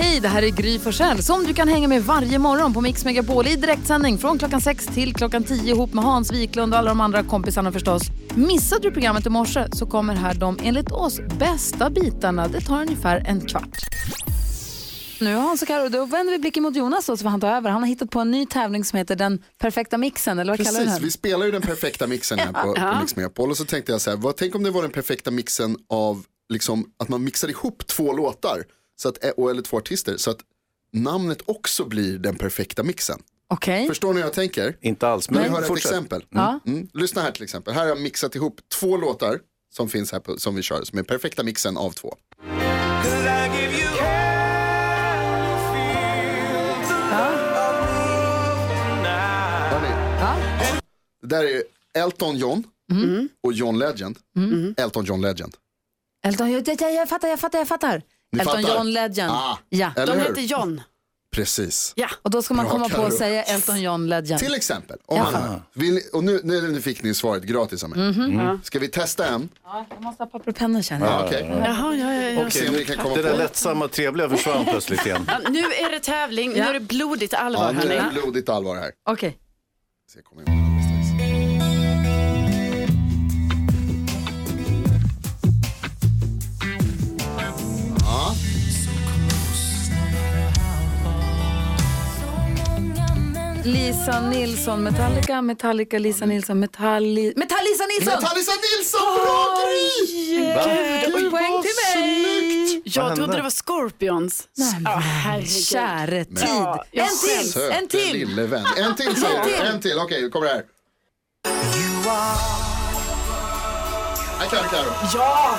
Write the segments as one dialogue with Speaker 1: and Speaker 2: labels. Speaker 1: Hej, det här är Gry Forssell som du kan hänga med varje morgon på Mix Megapol i direktsändning från klockan 6 till klockan 10 ihop med Hans Wiklund och alla de andra kompisarna förstås. Missade du programmet i morse så kommer här de enligt oss bästa bitarna. Det tar ungefär en kvart. Nu har Hans och Karo, då vänder vi blicken mot Jonas då, så får han ta över. Han har hittat på en ny tävling som heter Den perfekta mixen, eller vad kallar du
Speaker 2: Precis,
Speaker 1: den?
Speaker 2: vi spelar ju den perfekta mixen här på, på Mix Megapol och så tänkte jag så här, vad, tänk om det var den perfekta mixen av liksom, att man mixar ihop två låtar så att, eh, och, eller två artister så att namnet också blir den perfekta mixen.
Speaker 1: Okej.
Speaker 2: Förstår ni hur jag tänker?
Speaker 3: Inte alls,
Speaker 2: Men vi
Speaker 3: men
Speaker 2: har ett
Speaker 3: fortsätt.
Speaker 2: exempel.
Speaker 1: Ja.
Speaker 2: Mm. Lyssna här till exempel, här har jag mixat ihop två låtar som finns här på, som vi kör, som är perfekta mixen av två. Hör ni? Det där är Elton John och John Legend. Elton John Legend.
Speaker 1: Elton, jag, jag, jag fattar, jag fattar, jag fattar.
Speaker 2: Ni
Speaker 1: Elton
Speaker 2: fattar?
Speaker 1: John Legend.
Speaker 2: Ah,
Speaker 1: ja.
Speaker 2: eller
Speaker 4: De
Speaker 2: hur?
Speaker 4: heter John.
Speaker 2: Precis.
Speaker 1: Och då ska man
Speaker 2: Bra,
Speaker 1: komma på
Speaker 2: Karo.
Speaker 1: att säga Elton John Legend.
Speaker 2: Till exempel, om man, vill, ni- och nu, nu, nu fick ni svaret gratis av mig. Ska vi testa en?
Speaker 1: Ja, jag måste ha papper och penna känner jag.
Speaker 2: Ja, okej.
Speaker 4: Jaha, Mm. ja, ja, ja.
Speaker 2: Se om ni kan komma
Speaker 3: Det där
Speaker 2: på.
Speaker 3: lättsamma och trevliga försvann plötsligt igen.
Speaker 4: Ja, Nu är det tävling, nu är det blodigt
Speaker 2: Ja,
Speaker 4: allvar.
Speaker 2: nu är
Speaker 4: hörni.
Speaker 2: det blodigt allvar här.
Speaker 1: Okej.
Speaker 2: Se, kommer jag ihåg alldeles strax.
Speaker 1: Lisa Nilsson, Metallica, Metallica, Lisa Nilsson, Metalli... Metallisa Nilsson!
Speaker 2: Natalisa Nilsson, bra grej!
Speaker 1: Gud, och poäng till mig!
Speaker 3: Vad
Speaker 4: Jag
Speaker 3: hände?
Speaker 4: trodde det var Scorpions. Ja, herregud.
Speaker 1: Käre tid.
Speaker 4: Ja, jag
Speaker 1: en till,
Speaker 4: skäms.
Speaker 2: Söte
Speaker 1: en till!
Speaker 2: lille vän. En till säger
Speaker 1: till.
Speaker 2: du. En till. Okej, nu kommer det här. Här kan du Carro.
Speaker 4: Ja,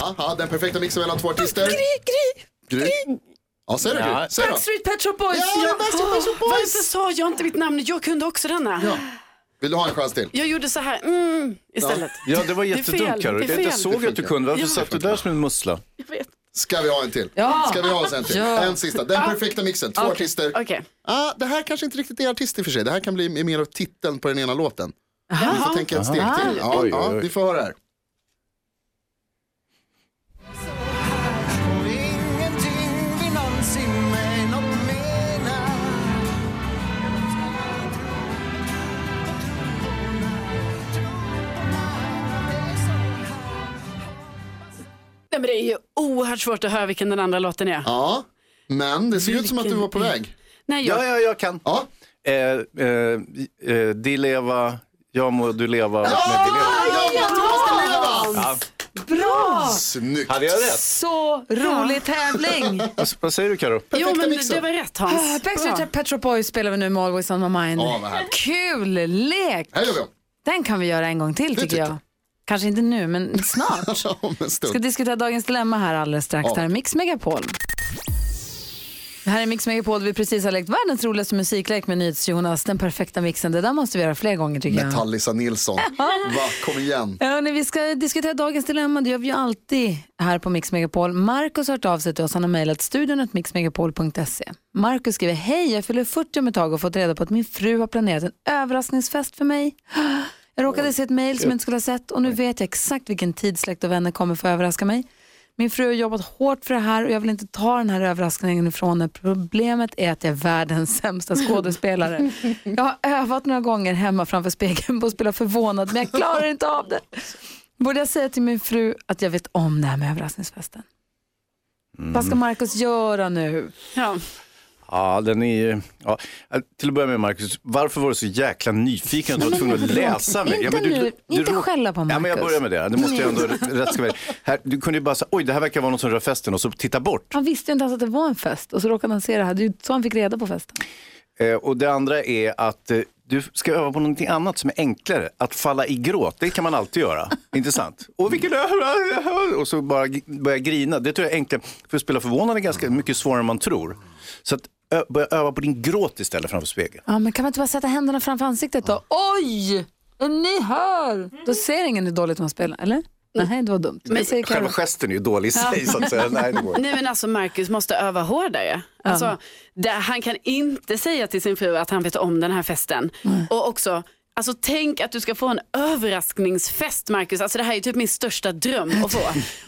Speaker 2: Ja, ja, Den perfekta mixen mellan två artister. Gry, Gry. Ja, säg det
Speaker 3: Ja.
Speaker 2: Gry. Säg då.
Speaker 1: Backstreet Pet Shop Boys!
Speaker 2: Ja, det är Backstreet Boys och
Speaker 4: varför sa jag inte mitt namn? Jag kunde också denna.
Speaker 2: Ja. Vill du ha en chans till?
Speaker 4: Jag gjorde så här, mm, istället.
Speaker 3: Ja, det var
Speaker 4: är
Speaker 3: jättedumt Carro.
Speaker 4: fel, det är
Speaker 3: Jag inte
Speaker 4: fel.
Speaker 2: Det
Speaker 3: såg
Speaker 2: funkar.
Speaker 3: att du kunde. Varför satt du där som en mussla?
Speaker 4: Jag vet.
Speaker 2: Ska vi ha en till?
Speaker 1: Ja.
Speaker 2: Ska vi ha oss en till?
Speaker 1: Ja.
Speaker 2: En sista. Den perfekta mixen. Två artister.
Speaker 4: Okej.
Speaker 2: Ah, det här kanske inte riktigt är artist i och för sig. Det här kan bli mer av titeln på den ena låten. Ni får tänka ett steg till. Ja,
Speaker 3: Oj,
Speaker 2: ja,
Speaker 3: oj, oj.
Speaker 2: vi får höra här.
Speaker 4: Nej, men det är ju oerhört svårt att höra vilken den andra låten är.
Speaker 2: Ja, men det ser ut som att du var på väg.
Speaker 4: Nej, jag,
Speaker 3: Ja, ja, jag kan.
Speaker 2: Ja,
Speaker 3: Eh, eh, eh, di leva, jag må du leva med di leva.
Speaker 2: ja, ja, Thomas Di Leva!
Speaker 3: Ja.
Speaker 1: Bra!
Speaker 2: Snyggt.
Speaker 3: Hade jag rätt?
Speaker 1: Så rolig tävling!
Speaker 3: Vad, vad säger du Carro?
Speaker 4: jo, men
Speaker 2: mixen. Ah,
Speaker 4: det var rätt Hans. Bra.
Speaker 1: Backstreet Pet Shop Boys spelar vi nu med Always On My Mind.
Speaker 2: Ja, vad härligt.
Speaker 1: Kul lek!
Speaker 2: Här gör vi om.
Speaker 1: Den kan vi göra en gång till tycker
Speaker 2: tycker
Speaker 1: jag.
Speaker 2: jag.
Speaker 1: Kanske inte nu, men snart.
Speaker 2: Ja, om en
Speaker 1: Vi ska
Speaker 2: stund.
Speaker 1: diskutera dagens dilemma här alldeles strax.
Speaker 2: Ja.
Speaker 1: Det här är Mix Megapol. Det här är Mix Megapol där vi precis har lekt världens roligaste musiklek med NyhetsJonas. Den perfekta mixen. Det där måste vi göra fler gånger tycker jag.
Speaker 2: Metallisa Nilsson. Va, kom igen.
Speaker 1: Ja, hörni, vi ska diskutera dagens dilemma. Det gör vi ju alltid här på Mix Megapol. Markus har hört av sig till oss. Han har mejlat studion mixmegapol.se. Markus skriver, hej jag fyller 40 om ett tag och fått reda på att min fru har planerat en överraskningsfest för mig. Jag råkade se ett mejl som jag inte skulle ha sett och nu vet jag exakt vilken tid släkt och vänner kommer för att överraska mig. Min fru har jobbat hårt för det här och jag vill inte ta den här överraskningen ifrån henne. Problemet är att jag är världens sämsta skådespelare. Jag har övat några gånger hemma framför spegeln på att spela förvånad men jag klarar inte av det. Borde jag säga till min fru att jag vet om det här med överraskningsfesten? Vad ska Markus göra nu?
Speaker 4: Ja.
Speaker 3: Ja, den är ju... Ja. Äh, Till att börja med Marcus, varför var du så jäkla nyfiken att du var tvungen att läsa mig?
Speaker 1: Inte
Speaker 3: men du,
Speaker 1: nu. Inte skälla på
Speaker 3: Ja, men jag
Speaker 1: Marcus.
Speaker 3: börjar med det. Det måste jag ändå rätt ska vara här, Du kunde ju bara säga, oj det här verkar vara någon som rör festen och så titta bort.
Speaker 1: Han visste ju inte ens att det var en fest och så råkade han se det här. Det är ju så han fick reda på festen.
Speaker 3: Eh, och det andra är att eh, du ska öva på någonting annat som är enklare. Att falla i gråt, det kan man alltid göra. Intressant. Och vilken ö- Och så bara g- börja grina. Det tror jag är enklare. För att spela förvånande är ganska mycket svårare än man tror. Så att ö- börja öva på din gråt istället framför spegeln.
Speaker 1: Ja, men kan man inte bara sätta händerna framför ansiktet då? Oj! Är ni hör? Då ser ingen hur dåligt man spelar, eller? Nej, det var dumt. Men, säger Karo.
Speaker 3: Själva gesten är ju dålig i sig. Så att säga. Nej, det går.
Speaker 4: Nej men alltså Marcus måste öva hårdare. Alltså, det, han kan inte säga till sin fru att han vet om den här festen. Och också, alltså, tänk att du ska få en överraskningsfest Marcus. Alltså, det här är typ min största dröm att få.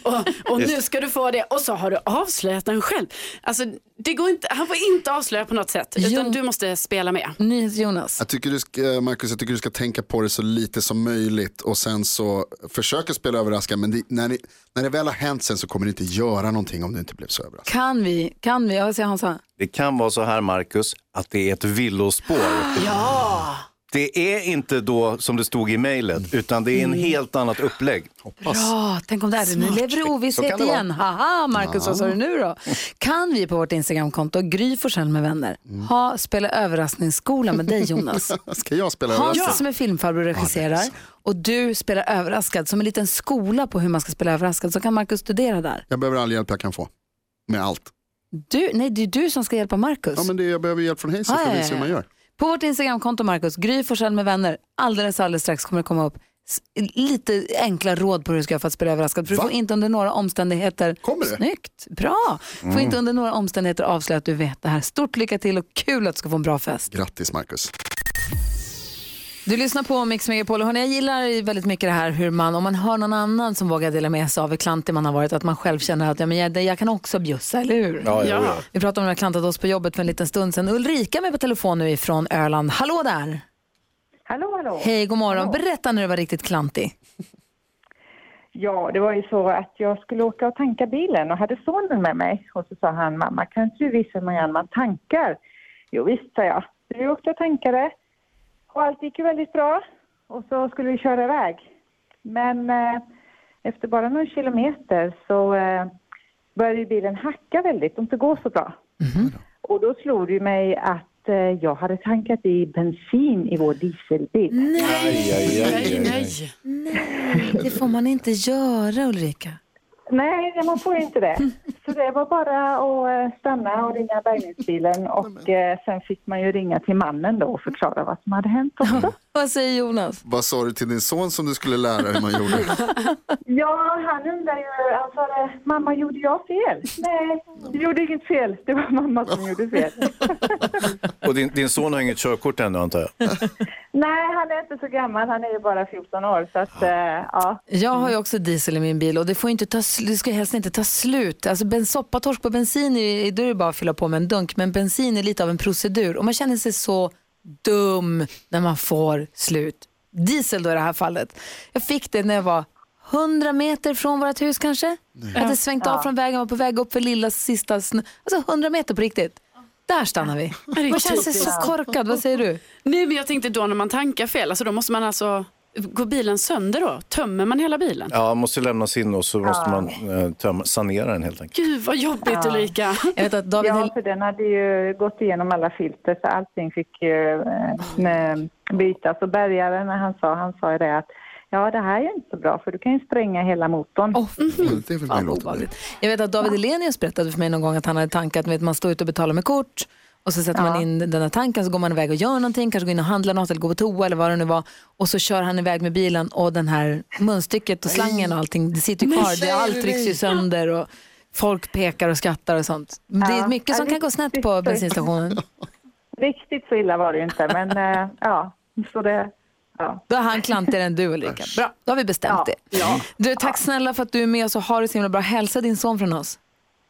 Speaker 4: Och, och nu ska du få det och så har du avslöjat den själv. Alltså, det går inte, han får inte avslöja på något sätt utan
Speaker 1: Jo.
Speaker 4: du måste spela med.
Speaker 1: NyhetsJonas.
Speaker 2: Jag tycker du ska, eh, Marcus, jag tycker du ska tänka på det så lite som möjligt och sen så försöka spela överraskad men det, när, det, när det väl har hänt sen så kommer du inte göra någonting om du inte blev så överraskad.
Speaker 1: Kan vi, kan vi, jag säger Hansa.
Speaker 3: Det kan vara så här, Marcus, att det är ett villospår. Ja! Det är inte då som det stod i mejlet, utan det är en helt annat upplägg.
Speaker 1: Bra, tänk om det här, nu lever du i
Speaker 3: Så
Speaker 1: ovisshet
Speaker 3: kan det vara.
Speaker 1: igen. Haha, Markus, vad sa du nu då? Kan vi på vårt Instagramkonto, Gry Forssell med vänner, ha, spela överraskningsskola med dig Jonas?
Speaker 2: Ska jag spela
Speaker 1: Hans
Speaker 2: överraskad?
Speaker 1: som är filmfarbror och regisserar och du spelar överraskad som en liten skola på hur man ska spela överraskad så kan Markus studera där.
Speaker 2: Jag behöver all hjälp jag kan få. Med allt.
Speaker 1: Du, nej, det är du som ska hjälpa Markus.
Speaker 2: Ja, men det, jag behöver hjälp från Hayes för
Speaker 1: Ja, ja,
Speaker 2: att visa hur
Speaker 1: ja.
Speaker 2: man gör.
Speaker 1: På vårt Instagramkonto Markus, Gry Forssell med vänner, alldeles alldeles strax kommer det komma upp s- lite enkla råd på hur du ska göra för att spela överraskad. För du
Speaker 2: Va?
Speaker 1: får inte under några omständigheter...
Speaker 2: Kommer det? Mm.
Speaker 1: Snyggt, bra! Får inte under några omständigheter avslöja att du vet det här. Stort lycka till och kul att du ska få en bra fest.
Speaker 2: Grattis Marcus.
Speaker 1: Du lyssnar på Mix Megapol och hörni, jag gillar väldigt mycket det här hur man, om man hör någon annan som vågar dela med sig av hur klantig man har varit, att man själv känner att ja, men jag, jag kan också bjussa, eller hur?
Speaker 3: Ja, ja,
Speaker 4: Ja.
Speaker 3: ja.
Speaker 1: Vi pratade om när vi klantade oss på jobbet för en liten stund sedan. Ulrika är med på telefon nu ifrån Öland. Hallå där!
Speaker 5: Hallå, hallå.
Speaker 1: Hej, god morgon. Berätta när du var riktigt klantig.
Speaker 5: Ja, det var ju så att jag skulle åka och tanka bilen och hade sonen med mig. Och så sa han, mamma kan inte du visa mig hur man tankar? Jo visst, sa jag. Så vi åkte och tankade och allt gick ju väldigt bra. Och så skulle vi köra iväg. Men eh, efter bara någon kilometer så eh, började ju bilen hacka väldigt och inte gå så bra. Och då slog det mig att eh, jag hade tankat i bensin i vår dieselbil.
Speaker 3: Aj, aj, aj,
Speaker 4: Nej,
Speaker 3: aj, aj.
Speaker 4: nej.
Speaker 1: Det får man inte göra, Ulrika.
Speaker 5: Nej, nej, man får inte det. Så det var bara att eh, stanna och ringa bärgningsbilen och eh, sen fick man ju ringa till mannen då och förklara vad som hade hänt också.
Speaker 1: Vad säger Jonas?
Speaker 2: Vad sa du till din son som du skulle lära hur man gjorde?
Speaker 5: Ja, han undrar ju, han sa det, mamma gjorde jag fel? Nej, du gjorde inget fel, det var mamma som gjorde fel.
Speaker 3: Och din, din son har inget körkort ännu antar jag?
Speaker 5: Nej, han är inte så gammal, han är ju bara 14 år så att eh, ja.
Speaker 1: Jag har ju också diesel i min bil och det, får ju inte ta, sl- det ska helst inte ta slut. Alltså ben, soppatorsk på bensin, är, då är det bara att fylla på med en dunk. Men bensin är lite av en procedur och man känner sig så dum när man får slut. Diesel då i det här fallet. Jag fick det när jag var 100 meter från vårt hus kanske. Jag hade svängt av från vägen, var på väg upp för lilla sista snö. Alltså 100 meter på riktigt. Där stannar vi.
Speaker 4: det är
Speaker 1: Man känner sig
Speaker 4: typiskt.
Speaker 1: så korkad, vad säger du?
Speaker 4: nej men jag tänkte då när man tankar fel, alltså, då måste man alltså, går bilen sönder då? Tömmer man hela bilen?
Speaker 3: Ja, man måste lämnas in och så måste man eh, tömma, sanera den helt enkelt.
Speaker 4: Gud vad jobbigt Ulrika.
Speaker 1: Jag vet att David
Speaker 5: ja,
Speaker 1: Hel-
Speaker 5: för den hade ju gått igenom alla filter så allting fick ju eh, n- bytas och bärgaren när han sa, han sa ju det att ja det här är ju inte så bra för du kan ju spränga hela motorn.
Speaker 1: Åh,
Speaker 2: Mm, Det är väl min låt.
Speaker 1: obehagligt. Jag vet att David Elenius berättade för mig någon gång att han hade tankat, vet, man står ute och betalar med kort och så sätter man in den där tanken så går man iväg och gör någonting, kanske går in och handlar något eller går på toa eller vad det nu var och så kör han iväg med bilen och den här munstycket och slangen och allting, det sitter ju kvar, det, allt rycks ju sönder och folk pekar och skrattar och sånt. Det är
Speaker 5: Ja.
Speaker 1: mycket som
Speaker 5: Ja,
Speaker 1: kan gå snett på
Speaker 5: riktigt.
Speaker 1: bensinstationen.
Speaker 5: Riktigt så illa var det ju inte men eh, ja, så det, ja.
Speaker 1: Då är han klantigare än du Ulrika. Bra, då har vi bestämt
Speaker 5: Ja.
Speaker 1: det. Du, tack snälla för att du är med oss och har det så himla bra. Hälsa din son från oss.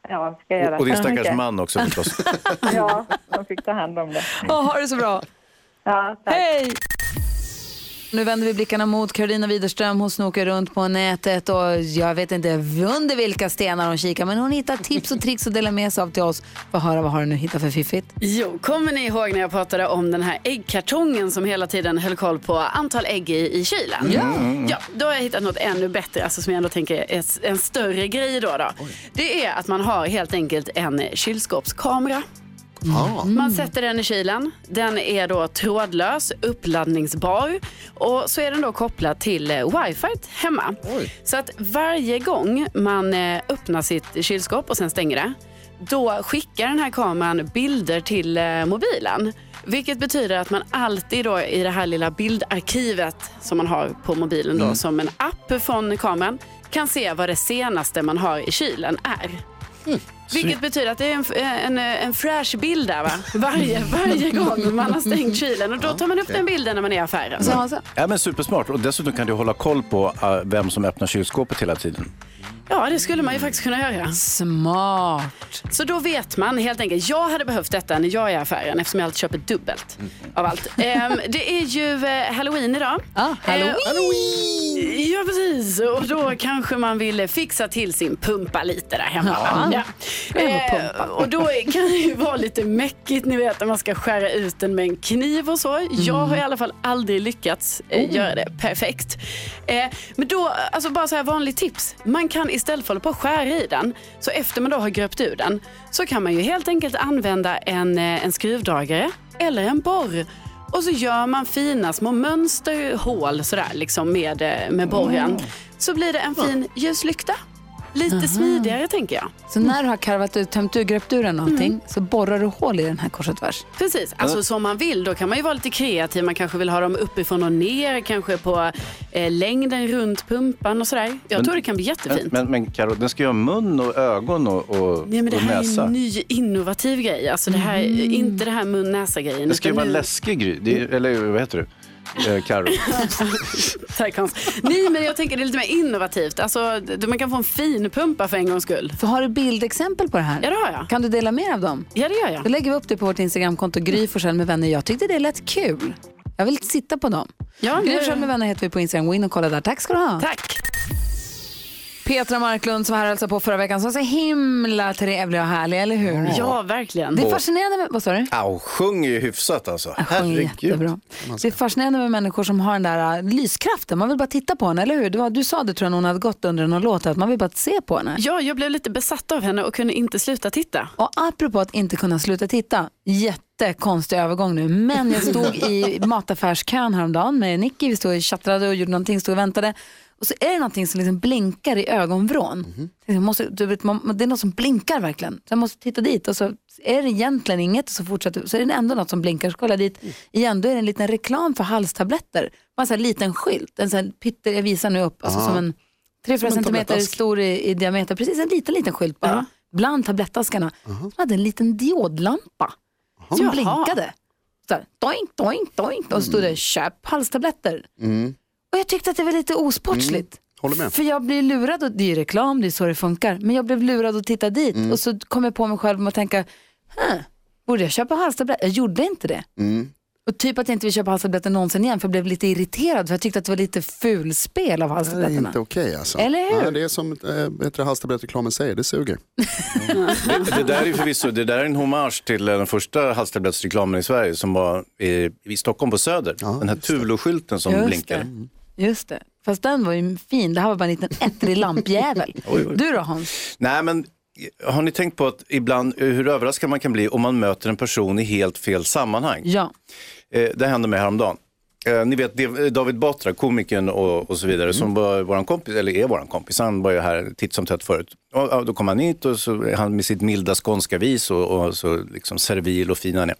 Speaker 5: Ja, ska jag göra.
Speaker 3: Och din
Speaker 5: Tack så
Speaker 3: stackars
Speaker 5: mycket.
Speaker 3: man också förstås.
Speaker 5: Ja, de fick ta hand om det.
Speaker 1: Och ha det så bra.
Speaker 5: Ja, tack.
Speaker 1: Hej! Nu vänder vi blickarna mot Karolina Widerström. Hon snokar runt på nätet och jag vet inte under vilka stenar hon kikar men hon hittar tips och tricks att dela med sig av till oss. Få höra vad har du nu hittat för fiffigt.
Speaker 4: Jo, kommer ni ihåg när jag pratade om den här äggkartongen som hela tiden höll koll på antal ägg i, i kylen? Ja. ja. Då har jag hittat något ännu bättre, alltså som jag ändå tänker är s- en större grej då. då. Det är att man har helt enkelt en kylskåpskamera.
Speaker 3: bakom.
Speaker 1: Mm.
Speaker 4: Man sätter den i kylen. Den är då trådlös, uppladdningsbar och så är den då kopplad till eh, wifi hemma.
Speaker 2: Oj.
Speaker 4: Så att varje gång man eh, öppnar sitt kylskåp och sen stänger det, då skickar den här kameran bilder till eh, mobilen. Vilket betyder att man alltid då i det här lilla bildarkivet som man har på mobilen då, som en app från kameran kan se vad det senaste man har i kylen är. Vilket betyder att det är en, en, eh, en fräsch bild där va? Varje, varje gång man har stängt kylen och då tar man upp den bilden när man är i affären.
Speaker 1: Så, alltså,
Speaker 3: Ja, men supersmart. Och dessutom kan du hålla koll på eh, vem som öppnar kylskåpet hela tiden.
Speaker 4: Ja, det skulle man ju faktiskt kunna göra.
Speaker 1: smart.
Speaker 4: Så då vet man helt enkelt. Jag hade behövt detta när jag är i affären eftersom jag alltid köper dubbelt av allt. Ehm, det är ju eh, halloween idag.
Speaker 1: Ah, halloween.
Speaker 4: Ehm, Ja, precis. Och då kanske man vill fixa till sin pumpa lite där hemma. va? Ja.
Speaker 1: Hem och
Speaker 4: Eh,
Speaker 1: pumpa.
Speaker 4: och då kan det ju vara lite mäckigt, ni vet, när man ska skära ut den med en kniv och så. Jag har i alla fall aldrig lyckats eh, göra det perfekt. Eh, men då, alltså bara så här vanligt tips. Man kan istället för att hålla på och skära i den, så efter man då har gröpt ur den, så kan man ju helt enkelt använda en, eh, en skruvdragare eller en borr. Och så gör man fina små mönsterhål sådär liksom med, eh, med borren. Så blir det en fin ljuslykta. Lite smidigare tänker jag.
Speaker 1: Så när du har karvat ut, tömt ur, gröpt ur den någonting så borrar du hål i den här kors och tvärs.
Speaker 4: Precis, alltså som man vill. Då kan man ju vara lite kreativ. Man kanske vill ha dem uppifrån och ner, kanske på eh, längden runt pumpan och sådär. Jag tror det kan bli jättefint.
Speaker 3: Men, men Karo, den ska ju ha mun och ögon och, och,
Speaker 4: Nej, men det
Speaker 3: och
Speaker 4: här är
Speaker 3: näsa. Mm.
Speaker 4: en ny innovativ grej. Alltså det här, Inte det här mun-näsa-grejen.
Speaker 3: Det ska ju
Speaker 4: utan
Speaker 3: vara en
Speaker 4: nu-
Speaker 3: läskig gry. Det är, eller vad heter du? Eh, Karo.
Speaker 4: Tack Hans. Nej, men jag tänker det är lite mer innovativt. Alltså, d- man kan få en fin pumpa för en gångs skull.
Speaker 1: För har du bildexempel på det här?
Speaker 4: Ja, det har jag.
Speaker 1: Kan du dela mer av dem?
Speaker 4: Ja, det gör jag.
Speaker 1: Då lägger vi upp det på vårt Instagramkonto Gry Forssell med vänner. Jag tyckte det lät kul. Jag vill sitta på dem.
Speaker 4: Ja,
Speaker 1: Gry
Speaker 4: det-
Speaker 1: Forssell med vänner heter vi på Instagram. Gå in och kolla där. Tack ska du ha.
Speaker 4: Tack.
Speaker 1: Petra Marklund som var här och hälsade på förra veckan som var så himla trevlig och härlig, eller hur?
Speaker 4: Ja, verkligen.
Speaker 1: Det är fascinerande med... Vad sa du?
Speaker 3: Au, sjunger ju hyfsat alltså.
Speaker 1: Jag sjöng jättebra. Det är fascinerande med människor som har den där äh, lyskraften. Man vill bara titta på henne, eller hur? Du, var- du sa det tror jag när hon hade gått under någon låt, att man vill bara se på henne.
Speaker 4: Ja, jag blev lite besatt av henne och kunde inte sluta titta.
Speaker 1: Och apropå att inte kunna sluta titta, jättekonstig övergång nu, men jag stod i mataffärskön häromdagen med Nicky, vi stod och tjattrade och gjorde någonting, stod och väntade. Och så är det någonting som liksom blinkar i ögonvrån. Jag måste, du vet, man, det är något som blinkar verkligen. Så jag måste titta dit och så är det egentligen inget och så fortsätter så är det ändå något som blinkar. Så kollar jag dit igen, då är det en liten reklam för halstabletter. Bara en sån här liten skylt, en sån här pytte, jag visar nu upp, alltså som en tre fyra centimeter
Speaker 2: tablettask.
Speaker 1: stor i, i diameter, precis en liten, liten skylt bara. Bland tablettaskarna.
Speaker 2: Uh-huh.
Speaker 1: Som hade en liten diodlampa som
Speaker 4: Jaha.
Speaker 1: blinkade. Så här, doink, doink, doink. Och så stod det
Speaker 2: Mm.
Speaker 1: köp halstabletter. Och jag tyckte att det var lite osportsligt.
Speaker 2: Mm. Håller med.
Speaker 1: För jag blir lurad, och det är ju reklam, det är så det funkar. Men jag blev lurad att titta dit
Speaker 2: Mm.
Speaker 1: och så kom jag på mig själv med att tänka, "Huh, borde jag köpa halstabletter? Jag gjorde inte det.
Speaker 2: Mm.
Speaker 1: Och typ att jag inte vill köpa halstabletter någonsin igen för jag blev lite irriterad för jag tyckte att det var lite fulspel av
Speaker 2: Det är
Speaker 1: halstabletterna.
Speaker 2: inte okej alltså.
Speaker 1: Eller hur?
Speaker 2: Nej, det är som äh, halstablettreklamen säger, det suger.
Speaker 3: Det, det där är ju förvisso det där är en hommage till eh, den första halstablettsreklamen i Sverige som var i, i Stockholm på Söder. den här Tulo-skylten som blinkade.
Speaker 1: Det. Just det. Fast den var ju fin, det här var bara en liten ettrig lampjävel. Du då Hans?
Speaker 3: Nej, men har ni tänkt på att ibland eh, hur överraskad man kan bli om man möter en person i helt fel sammanhang?
Speaker 1: Ja.
Speaker 3: Eh, det hände mig häromdagen. Eh, ni vet det- David Batra, komikern och, och så vidare, som var vår kompis, eller är vår kompis, han var ju här titt som tätt förut. Och, ja, då kom han hit och så, är han med sitt milda skånska vis och, och så liksom servil och fin han är.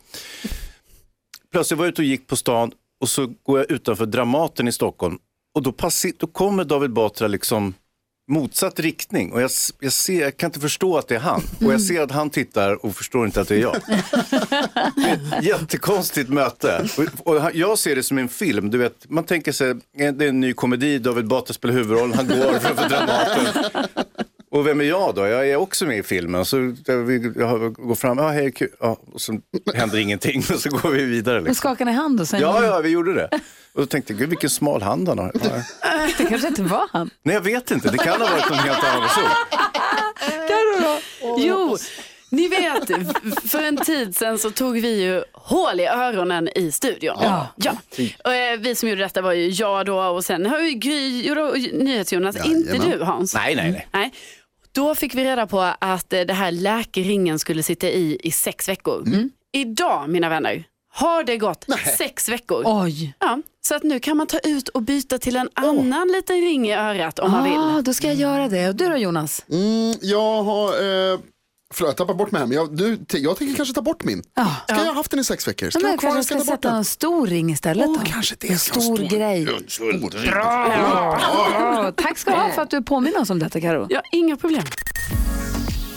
Speaker 3: Plötsligt var jag ute och gick på stan och så går jag utanför Dramaten i Stockholm och då, passi- då kommer David Batra liksom motsatt riktning och jag, s- jag, ser, jag kan inte förstå att det är han. Och jag ser att han tittar och förstår inte att det är jag. Jättekonstigt möte. Och, och han- jag ser det som en film. Du vet, man tänker sig, eh, det är en ny komedi, David Batra spelar huvudrollen, han går framför Dramaten. Och vem är jag då? Jag är också med i filmen. Så jag, vi- jag går fram, ja hej, kul. Ja, och så händer ingenting och så går vi vidare.
Speaker 1: Nu
Speaker 3: Liksom.
Speaker 1: skakar ni hand och sen,
Speaker 3: Ja, ja, vi gjorde det. Och då tänkte jag, gud vilken smal hand han har.
Speaker 1: det kanske inte var han.
Speaker 3: Nej, jag vet inte. Det kan ha varit en helt annan person.
Speaker 4: Jo, ni vet, v- för en tid sedan så tog vi ju hål i öronen i studion. Ja. Och, eh, vi som gjorde detta var ju jag då och sen har ju Gry, gjorde- och Nyhets-Jonas, inte
Speaker 2: Jajamän.
Speaker 4: du Hans.
Speaker 3: Nej, nej, nej.
Speaker 4: Nej. Då fick vi reda på att eh, det här läkeringen skulle sitta i i sex veckor. Mm. Idag, mina vänner, har det gått sex veckor.
Speaker 1: Oj.
Speaker 4: Ja, så att nu kan man ta ut och byta till en annan liten ring i örat om man vill.
Speaker 1: Ah, då ska jag göra det. Och du då Jonas?
Speaker 2: Mm, jag har, eh, förlåt jag tappar bort mig här, men jag, nu, t- jag tänker kanske ta bort min. Ska jag ha haft den i sex veckor? Ska
Speaker 1: Ja,
Speaker 2: jag
Speaker 1: men
Speaker 2: ha
Speaker 1: jag
Speaker 2: kvar
Speaker 1: kanske
Speaker 2: den? Ska
Speaker 1: ska
Speaker 2: jag ta bort
Speaker 1: sätta
Speaker 2: den?
Speaker 1: en stor ring istället då.
Speaker 2: Åh, kanske det.
Speaker 1: En
Speaker 2: ska jag ha
Speaker 1: stor grej. Bra! Tack ska du ha för att du påminner oss om detta Karo.
Speaker 4: Ja, inga problem.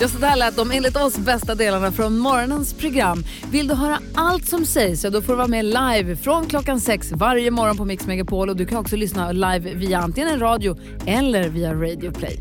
Speaker 1: Ja, så där lät de enligt oss bästa delarna från morgonens program. Vill du höra allt som sägs, ja då får du vara med live från klockan sex varje morgon på Mix Megapol. Och du kan också lyssna live via antingen radio eller via Radio Play.